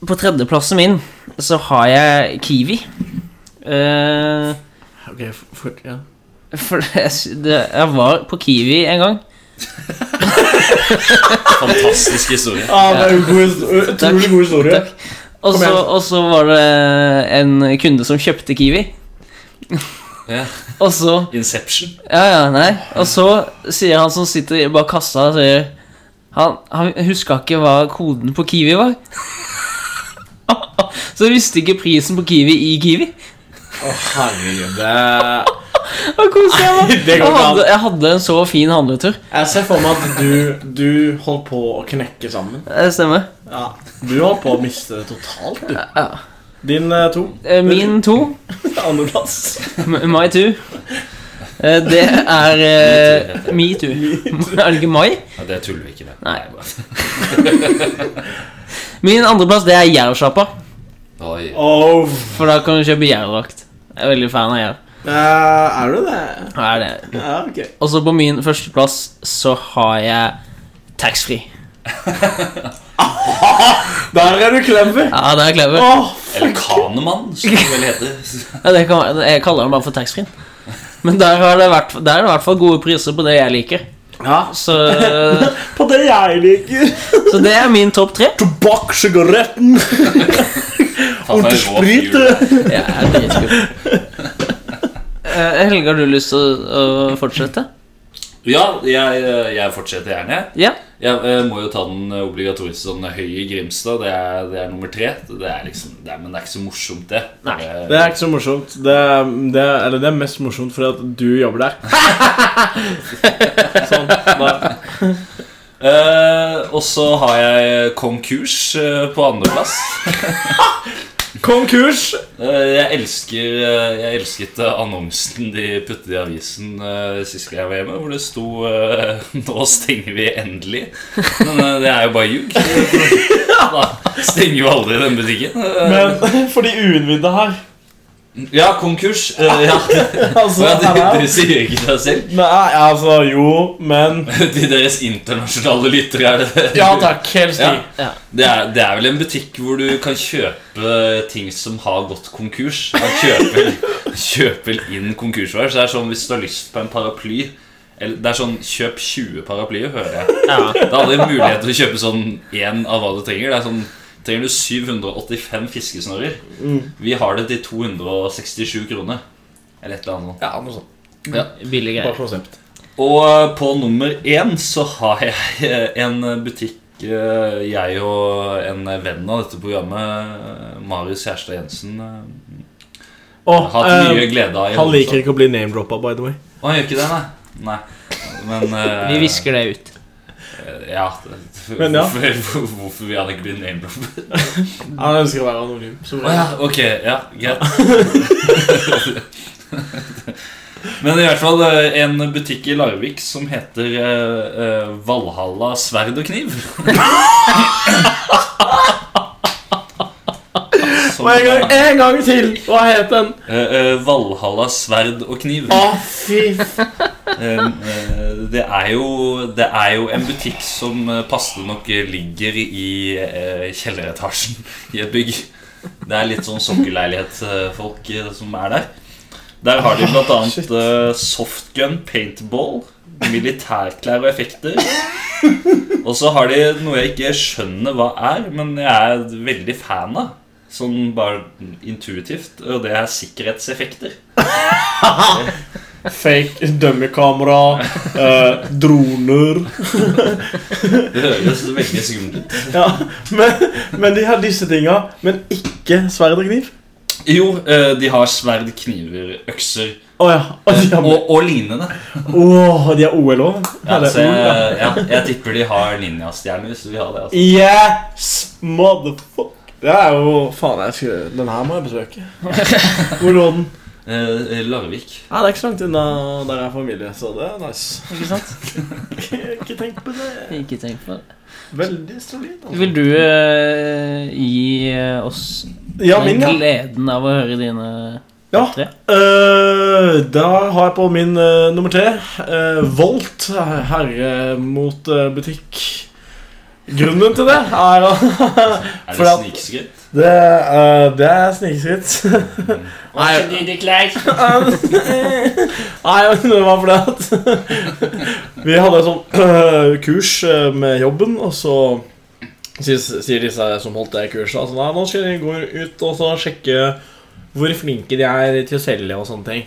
Speaker 2: På tredjeplassen min så har jeg Kiwi. Eh,
Speaker 1: Ok, for- for- ja.
Speaker 2: for jeg, sy- det, jeg var på Kiwi en gang.
Speaker 4: Fantastisk historie.
Speaker 1: ah, det er en god, his- utrolig god historie.
Speaker 2: Takk. Og
Speaker 1: Kom
Speaker 2: så,
Speaker 1: igjen.
Speaker 2: og så var det en kunde som kjøpte Kiwi.
Speaker 4: Ja.
Speaker 2: Og så
Speaker 4: Inception.
Speaker 2: Ja, ja, nei. Og så sier han som sitter bak kassa, sier Han, han huska ikke hva koden på Kiwi var. så visste ikke prisen på Kiwi i Kiwi.
Speaker 1: Å, herregud. Eh, det-
Speaker 2: Hva koselig jeg var.
Speaker 1: Det går
Speaker 2: Jeg
Speaker 1: ikke an.
Speaker 2: hadde, jeg hadde en så fin handletur.
Speaker 1: Jeg ser for meg at du, du holdt på å knekke sammen.
Speaker 2: Det Eh, stemmer.
Speaker 1: Ja. Du holdt på å miste det totalt, du.
Speaker 2: Ja.
Speaker 1: Din eh, to.
Speaker 2: Eh, Min to,
Speaker 1: Andreplass.
Speaker 2: my two, eh, det er eh, me too. Er det ikke my?
Speaker 4: Ja, det tuller vi ikke med.
Speaker 2: Nei. Min andreplass, det er jervsjappa.
Speaker 4: Oi.
Speaker 1: Oh,
Speaker 2: For da kan du kjøpe jervdrakt. Jeg er veldig fan av jerv.
Speaker 1: Eh, er du det?
Speaker 2: Ja, det er det.
Speaker 1: Ja, ok.
Speaker 2: Og så Altså, på min førsteplass så har jeg taxfree.
Speaker 1: Der er du clever.
Speaker 2: Ja, det er clever.
Speaker 1: Åh,
Speaker 4: Eller Kanemann, som det vel heter.
Speaker 2: Ja, det kan, jeg kaller den bare for taxfree. Men der, har det vært, der er det i hvert fall gode priser på det jeg liker.
Speaker 1: Ja.
Speaker 2: Så,
Speaker 1: På det jeg liker.
Speaker 2: så det er min topp tre.
Speaker 1: Tobakk, sigaretten,
Speaker 4: Faen, det er rå fyr,
Speaker 1: sprit.
Speaker 4: det.
Speaker 2: Ja, jeg er dritskul. Eh, Helge, har du lyst til å, å fortsette?
Speaker 4: Ja, jeg, eh, jeg fortsetter gjerne.
Speaker 2: Ja.
Speaker 4: Jeg, jeg må jo ta den obligatoriske sånn høye Grimstad. Det er, det er nummer tre. Det er liksom, det er, men det er ikke så morsomt, det.
Speaker 2: Nei.
Speaker 1: Det er ikke så morsomt. Det, er- det, er- eller det er mest morsomt fordi at du jobber der. sånn. Da.
Speaker 4: Eh, og så har jeg konkurs eh, på andreplass.
Speaker 1: Konkurs!
Speaker 4: Eh, jeg elsker eh, Jeg elsket eh, annonsen de puttet i avisen eh, sist gang jeg var hjemme, hvor det sto eh, 'Nå stenger vi endelig'. Men eh, det er jo bare ljug. Da stenger jo aldri den butikken. Eh,
Speaker 1: Men for de uinnvidde her
Speaker 4: ja, konkurs. Eh, ja.
Speaker 1: altså,
Speaker 4: Ja,
Speaker 1: her
Speaker 4: dere,
Speaker 1: er-
Speaker 4: dere sier ikke det selv.
Speaker 1: Nei, altså, jo, men
Speaker 4: Til deres internasjonale lyttere er det det.
Speaker 1: Ja takk, helt
Speaker 4: Ja.
Speaker 1: stig.
Speaker 2: ja.
Speaker 4: Det er, det er vel en butikk hvor du kan kjøpe ting som har gått konkurs. Man kjøper, kjøper inn konkursvarer. Så det er sånn hvis du har lyst på en paraply eller, Det er sånn kjøp 20 paraplyer, hører jeg.
Speaker 2: ja.
Speaker 4: Da hadde jeg mulighet til å kjøpe sånn én av hva du trenger. Det er sånn Trenger du 785 fiskesnører?
Speaker 1: Mm.
Speaker 4: Vi har det til 267 kroner. Eller et eller annet. sånt.
Speaker 1: Ja, noe sånt.
Speaker 2: Billig
Speaker 1: Bare
Speaker 2: greie.
Speaker 4: eh,
Speaker 1: konsept.
Speaker 4: Og på nummer én så har jeg eh, en butikk ikke jeg og en venn av dette programmet, eh, Marius Kjærstad Jensen, eh,
Speaker 1: Og,
Speaker 4: hatt
Speaker 1: eh,
Speaker 4: mye glede av. i
Speaker 1: han liker
Speaker 4: hovedsak.
Speaker 1: ikke å bli name-droppa, by the way.
Speaker 4: Å, Han gjør ikke det, nei. nei. Men eh,
Speaker 2: Vi visker det ut.
Speaker 4: Ja.
Speaker 1: Men ja.
Speaker 4: Hvorfor, hvorfor vil han ikke bli name-droppet?
Speaker 1: Han ønsker å være anonym. Som
Speaker 4: Å ja, ok. Ja, greit. Men i hvert fall eh, en butikk i Larvik som heter eh, eh, Valhalla sverd og kniv. Som,
Speaker 1: Og en gang,
Speaker 4: eh,
Speaker 1: en gang til! Hva het den?
Speaker 4: eh, Valhalla sverd og kniv.
Speaker 1: Å, fy
Speaker 4: Eh, eh, det, er jo, det er jo en butikk som eh, passelig nok ligger i eh, kjelleretasjen i et bygg. Det er litt sånn sokkelleilighetsfolk eh, som er der. Der har de bl.a. Uh, softgun, paintball, militærklær og effekter. Og så har de noe jeg ikke skjønner hva er, men jeg er veldig fan av. Sånn bare intuitivt. Og det er sikkerhetseffekter.
Speaker 1: Fake dummy-kamera, eh, droner
Speaker 4: Det høres veldig skummelt ut.
Speaker 1: ja, men, men de har disse tinga, men ikke sverd og kniv.
Speaker 4: Jo, eh, de har sverd, kniver, økser
Speaker 1: Å ja. Og de har,
Speaker 4: og, og lignende.
Speaker 1: Åh, de har OL òg.
Speaker 4: Ja, så jeg, ja, jeg tipper de har ninjastjerner hvis de vil ha det. Altså.
Speaker 1: Yes, motherfuck. Det er jo Faen, jeg skulle, den her må jeg besøke. Hvor lå den?
Speaker 4: Eh, Larvik.
Speaker 1: Ja, det er ikke så langt unna der jeg har familie, så det er nice.
Speaker 2: Ikke sant?
Speaker 1: Ikke tenk på det.
Speaker 2: Ikke tenk på det.
Speaker 1: Veldig solid. Altså.
Speaker 2: Vil du eh, gi eh, oss
Speaker 1: Ja, min, ja. Ah.
Speaker 2: gleden av å høre dine
Speaker 1: ja.
Speaker 2: tre?
Speaker 1: Eh, da har jeg på min eh, nummer tre eh, Volt herre mot eh, butikk. Grunnen til det er at
Speaker 4: Er
Speaker 1: For
Speaker 4: det
Speaker 1: at-
Speaker 4: snikskritt?
Speaker 1: Det, eh, det er snikeskritt. Nei.
Speaker 2: Nei, det klær.
Speaker 1: Nei, men det var fordi at Vi hadde et sånt øh, kurs øh, med jobben, og så sier, sier disse som holdt det kurset, altså, nei, nå skal de gå ut og så sjekke hvor flinke de er til å selge og sånne ting.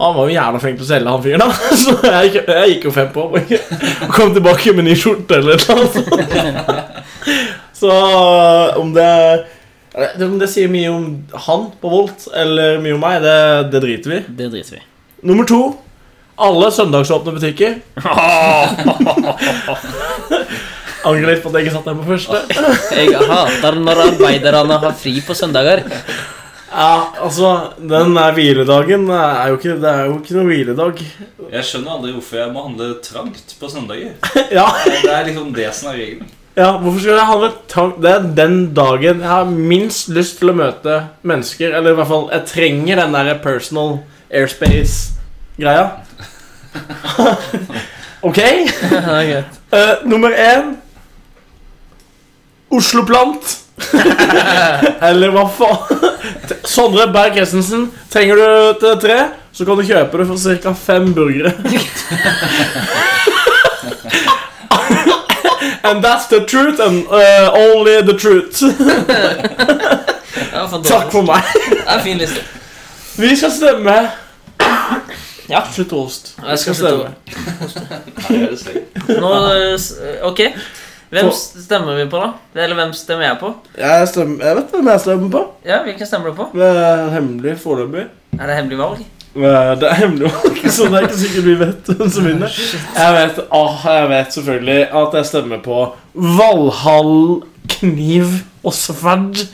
Speaker 1: Han var jo jævla flink til å selge, han fyren, da. Så jeg gikk, jeg gikk jo fem på og kom tilbake med ny skjorte eller noe sånt. Så øh, om det om det sier mye om han på Volt eller mye om meg, det, det driter vi i.
Speaker 2: Det driter vi i.
Speaker 1: Nummer to. Alle søndagsåpne butikker. Angrer litt på at jeg ikke satt den på første.
Speaker 2: Jeg hater når arbeiderne har fri på søndager.
Speaker 1: Ja, altså, Den der hviledagen er jo ikke, det er jo ikke noe hviledag.
Speaker 4: Jeg skjønner aldri hvorfor jeg må handle trangt på søndager.
Speaker 1: Ja,
Speaker 4: Det er liksom det som er regelen.
Speaker 1: ja Hvorfor skulle jeg handle trang... Det er den dagen jeg har minst lyst til å møte mennesker. Eller i hvert fall, jeg trenger den der personal airspace-greia. ok?
Speaker 2: Det er greit.
Speaker 1: Eh, nummer én Oslo Plant. Eller hva faen? Sondre Berg Christensen. Trenger du til tre, så kan du kjøpe det for ca. fem burgere. And that's the truth, and eh, only the truth.
Speaker 2: Ja, fantastisk.
Speaker 1: Takk for meg.
Speaker 2: Det er en fin liste.
Speaker 1: Vi skal stemme.
Speaker 2: Ja.
Speaker 1: Slutt å hoste.
Speaker 2: Jeg skal slutte
Speaker 4: Nei, det er slik.
Speaker 2: Nå, eh, s- ok. Hvem s- stemmer vi på, da? Eller hvem stemmer jeg på?
Speaker 1: Jeg, stemmer, jeg vet hvem jeg stemmer på.
Speaker 2: Ja, Hvilken stemmer du på?
Speaker 1: Det er hemmelig foreløpig.
Speaker 2: Er det hemmelig valg?
Speaker 1: Eh, Det er hemmelig valg, så det er ikke sikkert vi vet hvem som vinner. Jeg vet, åh, jeg vet selvfølgelig at jeg stemmer på Valhall, kniv og sverd.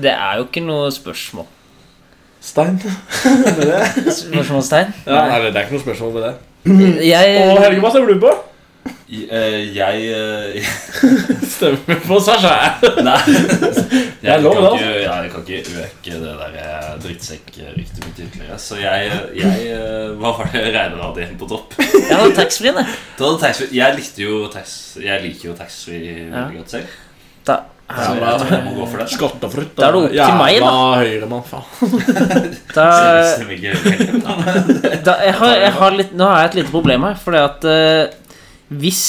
Speaker 2: Det er jo ikke noe spørsmål.
Speaker 1: Stein.
Speaker 2: Spørsmålstegn?
Speaker 1: Ja, nei, det er ikke noe spørsmål ved det. Og Helge,
Speaker 2: Jeg
Speaker 1: hva stemmer du på?
Speaker 4: I- eh, Jeg eh,
Speaker 1: Stemmer på Sasha.
Speaker 4: Nei.
Speaker 1: Det er
Speaker 4: Jeg
Speaker 1: lov,
Speaker 4: kan
Speaker 1: det,
Speaker 4: ikke, jeg kan ikke øke det der eh, drittsekkryktet mitt ytterligere. Så jeg, jeg eh, Hva var det jeg regnet med at jeg hadde på topp?
Speaker 2: jeg hadde taxfree, det.
Speaker 4: Da hadde taxfree- Jeg likte jo tax, Jeg liker jo taxfree veldig godt selv.
Speaker 2: Da-
Speaker 4: Så jeg tror jeg må gå for det.
Speaker 1: Skattefrutt.
Speaker 2: Da er det opp til meg, da.
Speaker 1: Høyremann, faen.
Speaker 2: Da,
Speaker 4: Stemmer ikke helt.
Speaker 2: da, jeg har, jeg har litt, nå har jeg et lite problem her, fordi at eh, hvis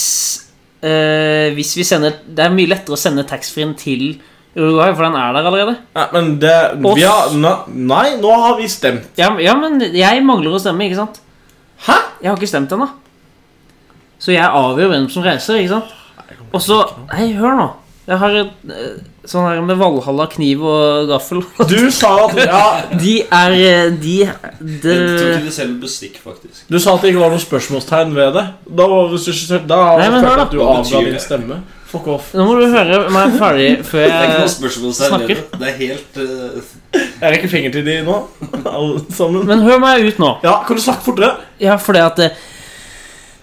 Speaker 2: eh, Hvis vi sender Det er mye lettere å sende taxfree-en til Uruguay, for den er der allerede.
Speaker 1: Nei, men det vi har, na- Nei, nå har vi stemt.
Speaker 2: Ja, men- ja, men jeg mangler å stemme, ikke sant?
Speaker 1: Hæ?
Speaker 2: Jeg har ikke stemt ennå. Så jeg avgjør hvem som reiser, ikke sant? Og så Hei, hør nå. Jeg har et eh, sånn her med Valhalla kniv og gaffel.
Speaker 1: Du sa at ja,
Speaker 2: De er eh, De det,
Speaker 4: Jeg tror ikke de selger bestikk, faktisk.
Speaker 1: Du sa at det ikke var noe spørsmålstegn ved det. Da var hvis du ikke selv- da
Speaker 2: Nei, men
Speaker 1: følte
Speaker 2: hør
Speaker 1: jeg
Speaker 2: da.
Speaker 1: at du
Speaker 4: Hva betyr
Speaker 1: avga din
Speaker 4: det?
Speaker 1: stemme. Fuck off.
Speaker 2: Nå må du høre meg ferdig før
Speaker 4: Det er ikke
Speaker 2: jeg
Speaker 4: noe spørsmål seg
Speaker 2: snakker.
Speaker 4: Det er helt eh,
Speaker 1: Jeg rekker fingeren til de nå. Alle sammen.
Speaker 2: Men hør meg ut nå.
Speaker 1: Ja, kan du snakke fortere?
Speaker 2: Ja, for det at eh,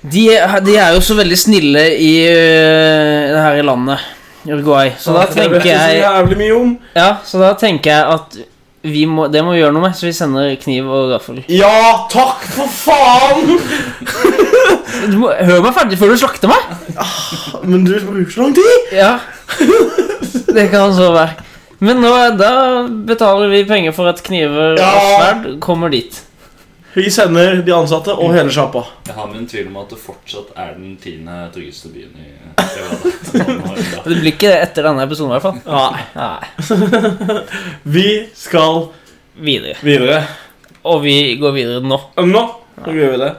Speaker 2: de, de er jo så veldig snille i eh, det her i landet, Uruguay. Så da tenker jeg
Speaker 1: så jævlig mye om.
Speaker 2: Ja, så da tenker jeg at vi må, det må vi gjøre noe med, så vi sender kniv og gaffel.
Speaker 1: Ja, takk for faen!
Speaker 2: Du må, hør meg ferdig før du slakter meg!
Speaker 1: Men du bruker så lang tid.
Speaker 2: Ja. Det kan så være. Men nå, er- da betaler vi penger for at kniver og
Speaker 1: Ja.
Speaker 2: sverd kommer dit.
Speaker 1: Vi sender de ansatte og hele sjappa.
Speaker 4: Jeg har min tvil om at det fortsatt er den tiende tryggeste byen i Nevada.
Speaker 2: Det blir ikke det etter denne episoden, i hvert fall.
Speaker 1: Nei.
Speaker 2: Nei.
Speaker 1: Vi skal
Speaker 2: Videre.
Speaker 1: videre.
Speaker 2: Og vi går videre nå.
Speaker 1: Nå så gjør vi det.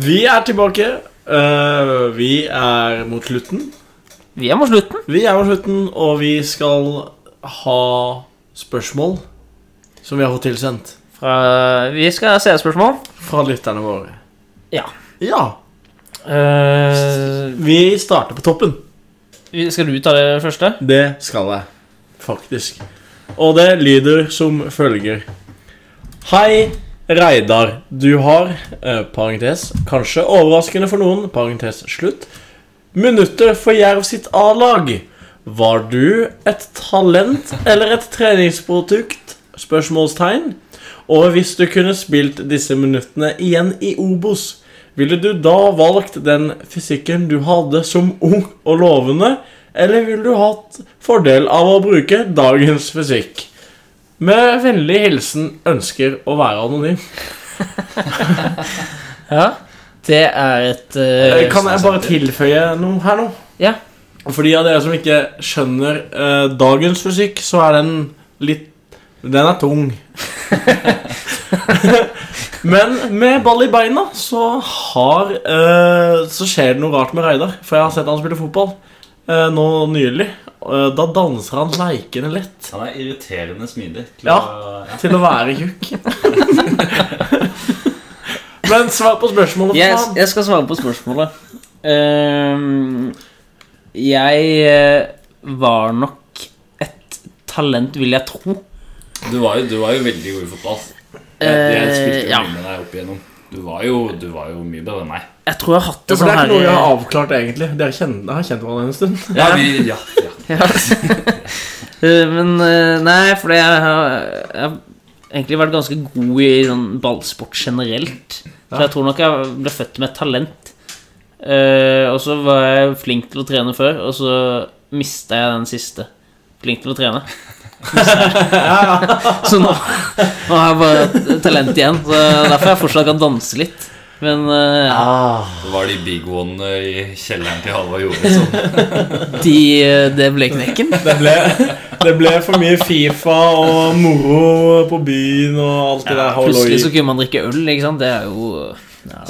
Speaker 1: Vi er tilbake. Eh, vi er mot slutten.
Speaker 2: Vi er mot slutten.
Speaker 1: Vi er mot slutten, og vi skal ha spørsmål som vi har fått tilsendt
Speaker 2: Fra, vi skal se et spørsmål.
Speaker 1: fra lytterne våre.
Speaker 2: Ja.
Speaker 1: Ja.
Speaker 2: Eh,
Speaker 1: Vi starter på toppen.
Speaker 2: vi- skal du ta det første?
Speaker 1: Det skal jeg, faktisk. Og det lyder som følger. Hei, Reidar. Du har, eh, parentes, kanskje overraskende for noen, parentes slutt, minutter for Jerv sitt A-lag. Var du et talent eller et treningsprodukt? Spørsmålstegn. Og hvis du kunne spilt disse minuttene igjen i Obos, ville du da valgt den fysikken du hadde som ung og lovende, eller ville du hatt fordel av å bruke dagens fysikk? Med vennlig hilsen ønsker å være anonym.
Speaker 2: Ja. Det er et eh,
Speaker 1: Kan jeg bare tilføye noe her nå?
Speaker 2: Ja.
Speaker 1: For de av dere som ikke skjønner eh, dagens fysikk, så er den litt Den er tung. Men med ball i beina så har eh, Så skjer det noe rart med Reidar. For jeg har sett han spille fotball eh, nå nylig. Eh, da danser han leikende lett.
Speaker 4: Han er irriterende smidig. til
Speaker 1: Ja.
Speaker 4: å- ja.
Speaker 1: til å være tjukk. Men svar på spørsmålet.
Speaker 2: Jeg,
Speaker 1: faen.
Speaker 2: jeg skal svare på spørsmålet. Ehm, jeg eh, var nok et talent, vil jeg tro.
Speaker 4: Du, var jo, du var jo veldig god i fotball. Jeg, jeg spilte
Speaker 2: Eh,
Speaker 4: jo
Speaker 2: ja.
Speaker 4: mye med deg opp igjennom. Du var jo, du var jo mye bedre enn meg.
Speaker 2: Jeg tror jeg har hatt
Speaker 1: Ja,
Speaker 2: det
Speaker 1: for
Speaker 2: sånn
Speaker 1: det er eh,
Speaker 2: her
Speaker 1: ikke noe jeg har avklart, egentlig. Dere kjenner, dere har kjent hverandre en stund.
Speaker 4: Ja, vi, ja, ja.
Speaker 2: Ja. Eh, Men eh, Nei, fordi jeg har, jeg har egentlig vært ganske god i sånn ballsport generelt. Så
Speaker 1: Ja.
Speaker 2: jeg tror nok jeg ble født med et talent. Eh, og så var jeg flink til å trene før, og så mista jeg den siste. Flink til å trene. så nå, nå har jeg bare et talent igjen. Så derfor jeg fortsatt kan danse litt. Men eh,
Speaker 1: Ah.
Speaker 4: Det var de big one i kjelleren til Halvard Johansson.
Speaker 2: de, eh, det ble knekken.
Speaker 1: Det, ble, det ble for mye Fifa og moro på byen og alt det der. halloi.
Speaker 2: Plutselig så kunne man drikke øl, ikke sant. Det er jo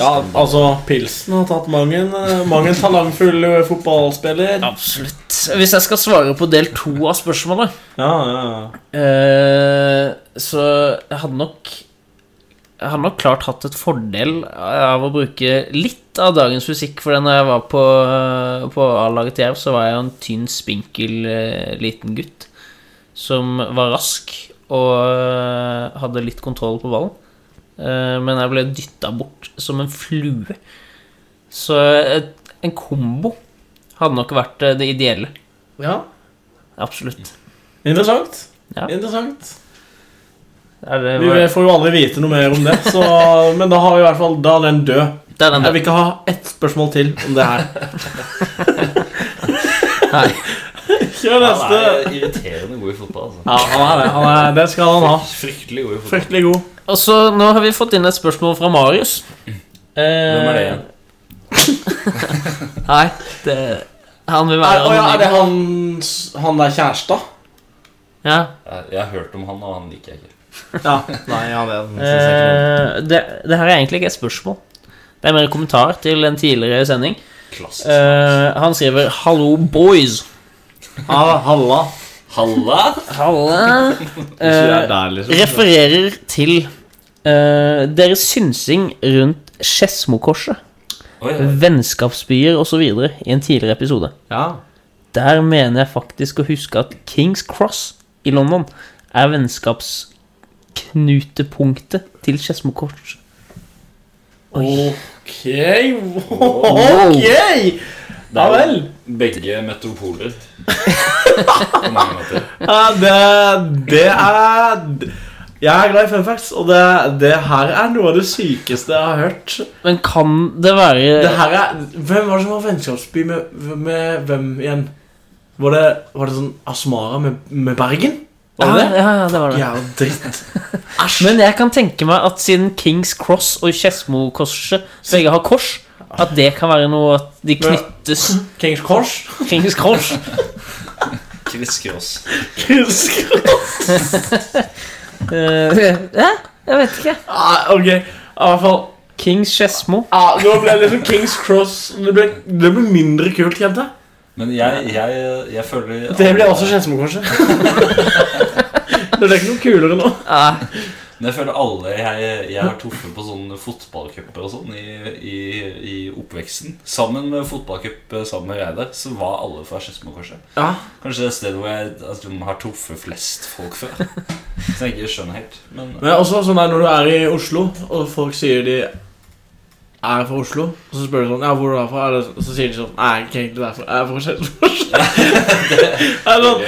Speaker 1: Ja, altså, Pilsen har tatt mang en eh, mang en talentfull eh, fotballspiller.
Speaker 2: Absolutt. Hvis jeg skal svare på del to av spørsmålet,
Speaker 1: Ja, ja, ja.
Speaker 2: eh, så jeg hadde nok jeg hadde nok klart hatt et fordel av å bruke litt av dagens fysikk. For når jeg var på, eh, på A-laget til Jerv, så var jeg jo en tynn, spinkel eh, liten gutt som var rask og eh, hadde litt kontroll på ballen. Eh, Men jeg ble dytta bort som en flue. Så et, en kombo hadde nok vært eh, det ideelle.
Speaker 1: ja.
Speaker 2: Absolutt.
Speaker 1: Interessant.
Speaker 2: Ja.
Speaker 1: Interessant.
Speaker 2: Er det,
Speaker 1: Vi får jo aldri vite noe mer om det, så, men da har vi i hvert fall Da er den død.
Speaker 2: det er den
Speaker 1: Jeg
Speaker 2: der.
Speaker 1: vil ikke ha ett spørsmål til om det her.
Speaker 2: Nei.
Speaker 1: Kjør
Speaker 4: Han
Speaker 1: neste.
Speaker 4: er irriterende god i fotball. Altså.
Speaker 1: Ja, han er det. Han er, det skal han ha.
Speaker 4: Fryktelig god i fotball.
Speaker 1: Fryktelig god.
Speaker 2: Og så nå har vi fått inn et spørsmål fra Marius. Eh,
Speaker 4: Hvem er det igjen?
Speaker 2: Nei, det Han vil
Speaker 1: Er,
Speaker 2: være
Speaker 1: å ja, er det
Speaker 2: anonym.
Speaker 1: han, han der kjæresta?
Speaker 2: Ja.
Speaker 4: Jeg, jeg har hørt om han, og han liker jeg ikke.
Speaker 1: Ja. Nei, ja, det synes jeg ikke.
Speaker 2: Eh, det, det her er egentlig ikke et spørsmål. Det er mer en kommentar til en tidligere sending.
Speaker 4: Klassisk.
Speaker 2: Eh, han skriver 'Hallo, boys'.
Speaker 1: Ah, halla.
Speaker 4: Halla!
Speaker 2: Halla.
Speaker 1: Hvis du er der, liksom.
Speaker 2: refererer til eh, deres synsing rundt Skedsmokorset,
Speaker 4: Oi,
Speaker 2: vennskapsbyer osv. i en tidligere episode.
Speaker 1: Ja.
Speaker 2: Der mener jeg faktisk å huske at Kings Cross i London er vennskapsknutepunktet til Skedsmokorset.
Speaker 1: Ok, ok! Ja vel.
Speaker 4: begge metropoler. På mange måter.
Speaker 1: Ja, det, det er Jeg er glad i fun facts, og det, det her er noe av det sykeste jeg har hørt.
Speaker 2: Men kan det være
Speaker 1: Det her er, Hvem var det som var vennskapsby med, med hvem igjen? Var det, var det sånn Asmara med, med Bergen? Var det det?
Speaker 2: Ja, ja, det var det.
Speaker 1: Jævla dritt.
Speaker 2: Men jeg kan tenke meg at siden Kings Cross og Skedsmokorset begge har kors, at det kan være noe at de knyttes
Speaker 1: Kings Kors.
Speaker 2: Kings Cross.
Speaker 4: Kviskross.
Speaker 2: Eh, Hæ? jeg vet ikke.
Speaker 1: Ah, ok, i hvert fall
Speaker 2: Kings Skedsmo.
Speaker 1: ah, Nå ble det liksom Kings Cross Det ble, det ble mindre kult, jente.
Speaker 4: Men jeg, jeg, jeg føler
Speaker 1: Det ble også Skedsmokorset. det ble ikke noe kulere nå.
Speaker 2: Ah,
Speaker 4: Men jeg føler alle jeg, jeg har truffet på sånne fotballcuper og sånn i, i, i oppveksten. Sammen med fotballcup eh, sammen med Reidar, så var alle fra Skedsmokorset.
Speaker 1: Ja.
Speaker 4: Kanskje det stedet hvor jeg altså, har truffet flest folk før. Så jeg ikke skjønner helt. Men
Speaker 1: Men også sånn der når du er i Oslo, og folk sier de er fra Oslo, og så spør du sånn Ja, hvor er du herfra? Er det- Så sier de sånn Nei, jeg er ikke egentlig derfra. Jeg er fra Skedsmokorset. Er det sånn,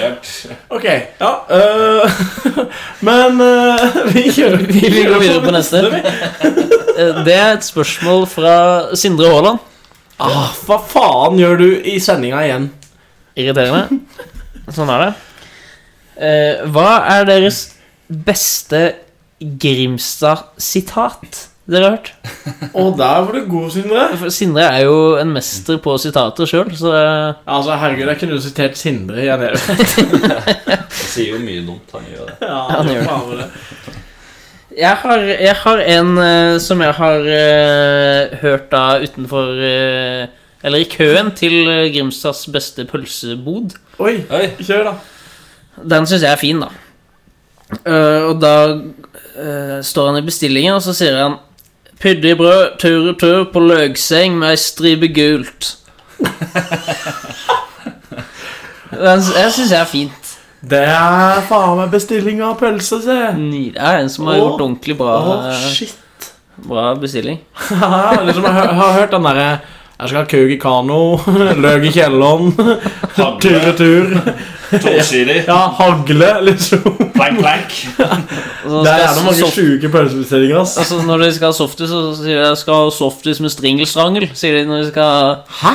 Speaker 1: Ok. Ja. øh, men øh, vi kjører
Speaker 2: Vi- vi går videre på neste.
Speaker 1: vi.
Speaker 2: eh, det er et spørsmål fra Sindre Haaland.
Speaker 1: Ah, hva faen gjør du i sendinga igjen?
Speaker 2: Irriterende. Sånn er det. Eh, hva er deres beste Grimstad-sitat dere har hørt?
Speaker 1: Og der var du god, Sindre.
Speaker 2: For Sindre er jo en mester på sitater sjøl, så eh,
Speaker 1: Altså, herregud, jeg kunne jo sitert Sindre igjen. jeg.
Speaker 4: Han sier jo mye dumt, han gjør det.
Speaker 1: Ja,
Speaker 2: han gjør det.
Speaker 1: faen det.
Speaker 2: jeg har, jeg har en eh, som jeg har eh, hørt da utenfor eh, Eller i køen til eh, Grimstads beste pølsebod.
Speaker 1: Oi,
Speaker 4: Oi,
Speaker 1: kjør, da.
Speaker 2: Den syns jeg er fin, da. Eh, og da eh, står han i bestillingen, og så sier han Pyddig brød, tur og tur på løkseng med ei stripe gult. Den, s- jeg syns jeg er fint.
Speaker 1: Det er faen meg bestilling av pølse, se.
Speaker 2: Nydelig. Det er en som har
Speaker 1: Åh.
Speaker 2: gjort ordentlig
Speaker 1: Å,
Speaker 2: bra,
Speaker 1: shit.
Speaker 2: bra bestilling.
Speaker 1: liksom, jeg har, har hørt den derre Jeg skal ha kuk i kano, løk i kjelleren, tur
Speaker 4: hagle,
Speaker 1: og tur.
Speaker 4: tåsider,
Speaker 1: Ja, hagle, liksom.
Speaker 4: plank, plank.
Speaker 2: Og så
Speaker 1: Der
Speaker 2: Altså, skal
Speaker 1: er det mange
Speaker 2: soft-
Speaker 1: sjuke pølsebestillinger, ass.
Speaker 2: altså, Når de skal ha softis, så sier de jeg skal ha softis med stringelstrangel. Sier de når de skal
Speaker 1: Hæ?
Speaker 2: ha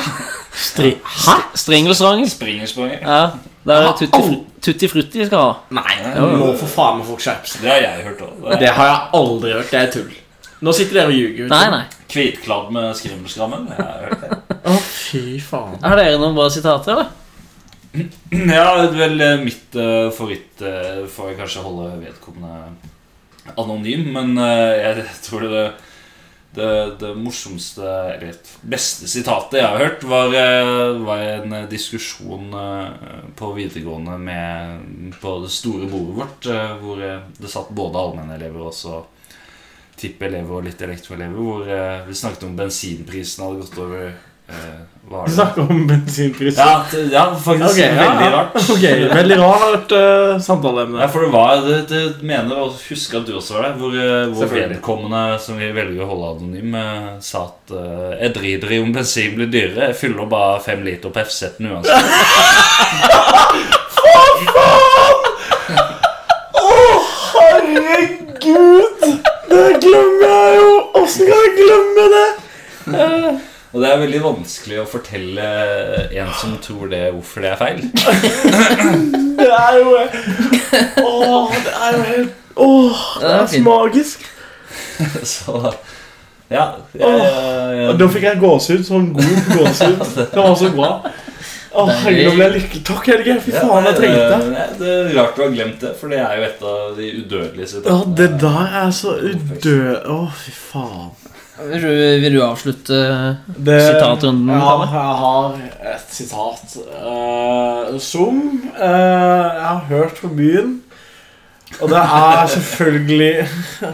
Speaker 1: Stri... Hæ?
Speaker 2: stringelstrangel.
Speaker 4: Springerspranger.
Speaker 2: Ja, det er
Speaker 1: Jeg
Speaker 2: tutti,
Speaker 1: har
Speaker 2: fru- tutti frutti de skal ha.
Speaker 1: Nei,
Speaker 4: jo, jo.
Speaker 1: nå for faen må folk skjerpe seg.
Speaker 4: Det har jeg hørt òg.
Speaker 1: Det har jeg aldri hørt. Det er tull. Nå sitter dere og ljuger. vet du.
Speaker 2: Nei, nei.
Speaker 4: Hvitkladd med skrimmelskammen. Jeg har hørt det.
Speaker 1: Å, fy faen.
Speaker 2: Har dere noen bra sitater, eller?
Speaker 4: Ja, vel eh, mitt eh, favoritt eh, får jeg kanskje holde vedkommende anonym, men eh, jeg tror det, det, det morsomste, eller beste sitatet jeg har hørt, var, eh, var en eh, diskusjon eh, på videregående med, på det store bordet vårt, eh, hvor eh, det satt både allmennelever og også tippelever og litt elektroelever, hvor eh, vi snakket om bensinprisen hadde gått over eh, hva var det?
Speaker 1: Snakk om bensinpriser.
Speaker 4: Ja, t- ja,
Speaker 1: Ok,
Speaker 4: faktisk
Speaker 1: ja,
Speaker 4: veldig
Speaker 1: ja.
Speaker 4: rart.
Speaker 1: Ok, Veldig rart uh, samtaleemne.
Speaker 4: Nei, for det var Det, det mener og husker at du også var der, hvor, eh, hvor
Speaker 1: Selvfølgelig.
Speaker 4: vedkommende som vi velger å holde anonym, eh, sa at eh, 'Jeg driter i om bensin blir dyrere, jeg fyller bare fem liter på FZ-en uansett'.
Speaker 1: Herregud! Det glemmer jeg jo! Åssen kan jeg glemme det?
Speaker 4: Og det er veldig vanskelig å fortelle en som tror det, hvorfor det er feil.
Speaker 1: Det er jo Åh, det er jo helt Åh, det
Speaker 2: Ja,
Speaker 1: er så
Speaker 2: fint.
Speaker 1: magisk.
Speaker 4: Så ja jeg, jeg,
Speaker 1: Og Da fikk jeg gåsehud. Sånn god gåsehud. Det var så bra. Åh, herregud, nå ble jeg lykkelig. Takk, Helge. Fy faen, jeg trengte det.
Speaker 4: det. eh, Det er rart du har glemt det, for det er jo et av de udødelige
Speaker 1: Ja,
Speaker 4: sitatene.
Speaker 1: det der er så udød... Å, fy faen.
Speaker 2: Vil du, vil du avslutte
Speaker 1: Det,
Speaker 2: Sitatrunden,
Speaker 1: Ja,
Speaker 2: Kalle?
Speaker 1: jeg har et sitat eh, som eh, jeg har hørt på byen. Og det er selvfølgelig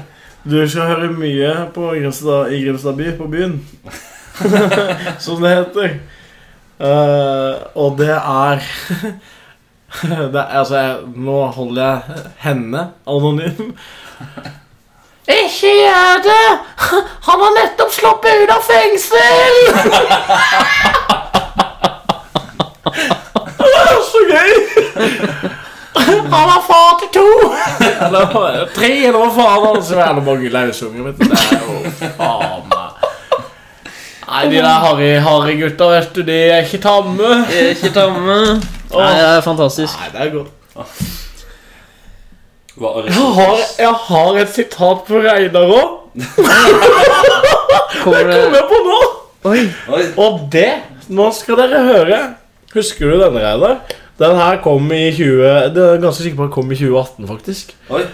Speaker 1: Du skal høre mye på Grimstad, i Grimstad by, på byen. som det heter. Eh, og det er det er, Altså, jeg, nå holder jeg henne anonym. Ikke gjør det! Han har nettopp sluppet ut av fengsel! Det er så gøy! Han er far til to! Eller tre, eller hva faen han så er det mange lausunger. vet du. Det er jo faen meg Nei, de der harry- harry gutta, vet du, de er ikke tamme.
Speaker 2: Jeg er ikke tamme. Nei, det er fantastisk.
Speaker 1: Nei, det er godt.
Speaker 4: Hva er det?
Speaker 1: Jeg har, jeg har et sitat på Reinar òg.
Speaker 2: Kommer
Speaker 1: Det kom
Speaker 2: det
Speaker 1: jeg på nå.
Speaker 2: Oi.
Speaker 4: Oi,
Speaker 1: Og det Nå skal dere høre. Husker du denne, Reidar? Den her kom i 20... Det er jeg ganske sikker på at den kom i 2018, faktisk.
Speaker 4: oi.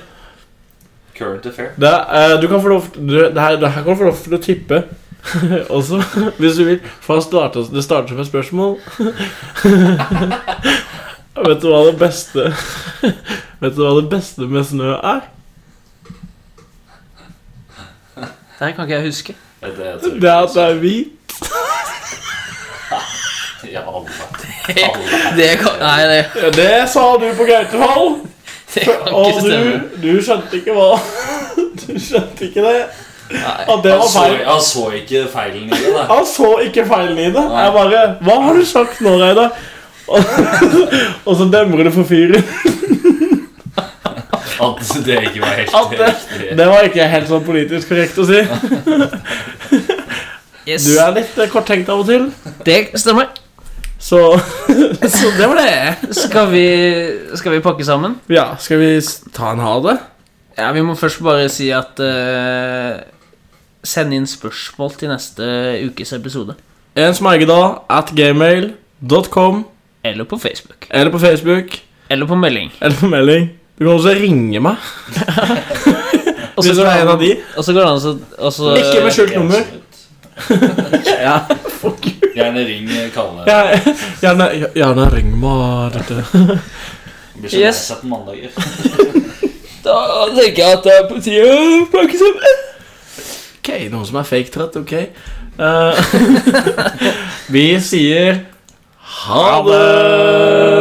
Speaker 4: Current affair.
Speaker 1: Det, eh, du kan få lov du, det, her, det her kan du få lov til å tippe også, hvis du vil. For han starter, det starter som et spørsmål. Vet du hva det beste Vet du hva det beste med snø er?
Speaker 2: Det her kan ikke jeg huske.
Speaker 4: Det, det,
Speaker 1: Det er at det er hvit.
Speaker 4: Ja, alle.
Speaker 2: Det kan, nei, det,
Speaker 1: Ja, det sa du på Gautefall,
Speaker 2: det kan
Speaker 1: og
Speaker 2: ikke
Speaker 1: du,
Speaker 2: stemme.
Speaker 1: du skjønte ikke hva Du skjønte ikke det.
Speaker 2: Nei.
Speaker 1: At det
Speaker 4: Han
Speaker 1: var
Speaker 4: så,
Speaker 1: feil.
Speaker 4: han så ikke feilen i det, da.
Speaker 1: Han så ikke feilen i det. Jeg bare Hva har du sagt nå, Reidar? Og, og så demrer det for fyren.
Speaker 4: At det ikke var helt
Speaker 1: At det-
Speaker 4: riktig.
Speaker 1: Det var ikke helt sånn politisk korrekt å si.
Speaker 2: Yes.
Speaker 1: Du er litt eh, korttenkt av og til,
Speaker 2: Det stemmer.
Speaker 1: så Så det var det.
Speaker 2: Skal vi, skal vi pakke sammen?
Speaker 1: Ja, skal vi s- ta en ha det?
Speaker 2: Ja, Vi må først bare si at eh, Send inn spørsmål til neste ukes episode.
Speaker 1: En smergedag at gmail.com
Speaker 2: Eller på Facebook.
Speaker 1: eller på Facebook
Speaker 2: Eller på melding.
Speaker 1: eller på melding. Du kan også ringe meg.
Speaker 2: Og
Speaker 1: Hvis du er en av de.
Speaker 2: Og så går det an å så- og så-
Speaker 1: Ikke med skjult nummer. Ja,
Speaker 4: Gjerne ring eh, Kalle.
Speaker 1: jeg- Gjerne, gjerne ring meg, dette.
Speaker 4: Blir så lei
Speaker 2: Yes.
Speaker 4: seg på mandager.
Speaker 2: Da tenker jeg at det er på tide å pakke sammen.
Speaker 1: Ok, noen som er fake trøtt, ok. Eh, vi sier ha det!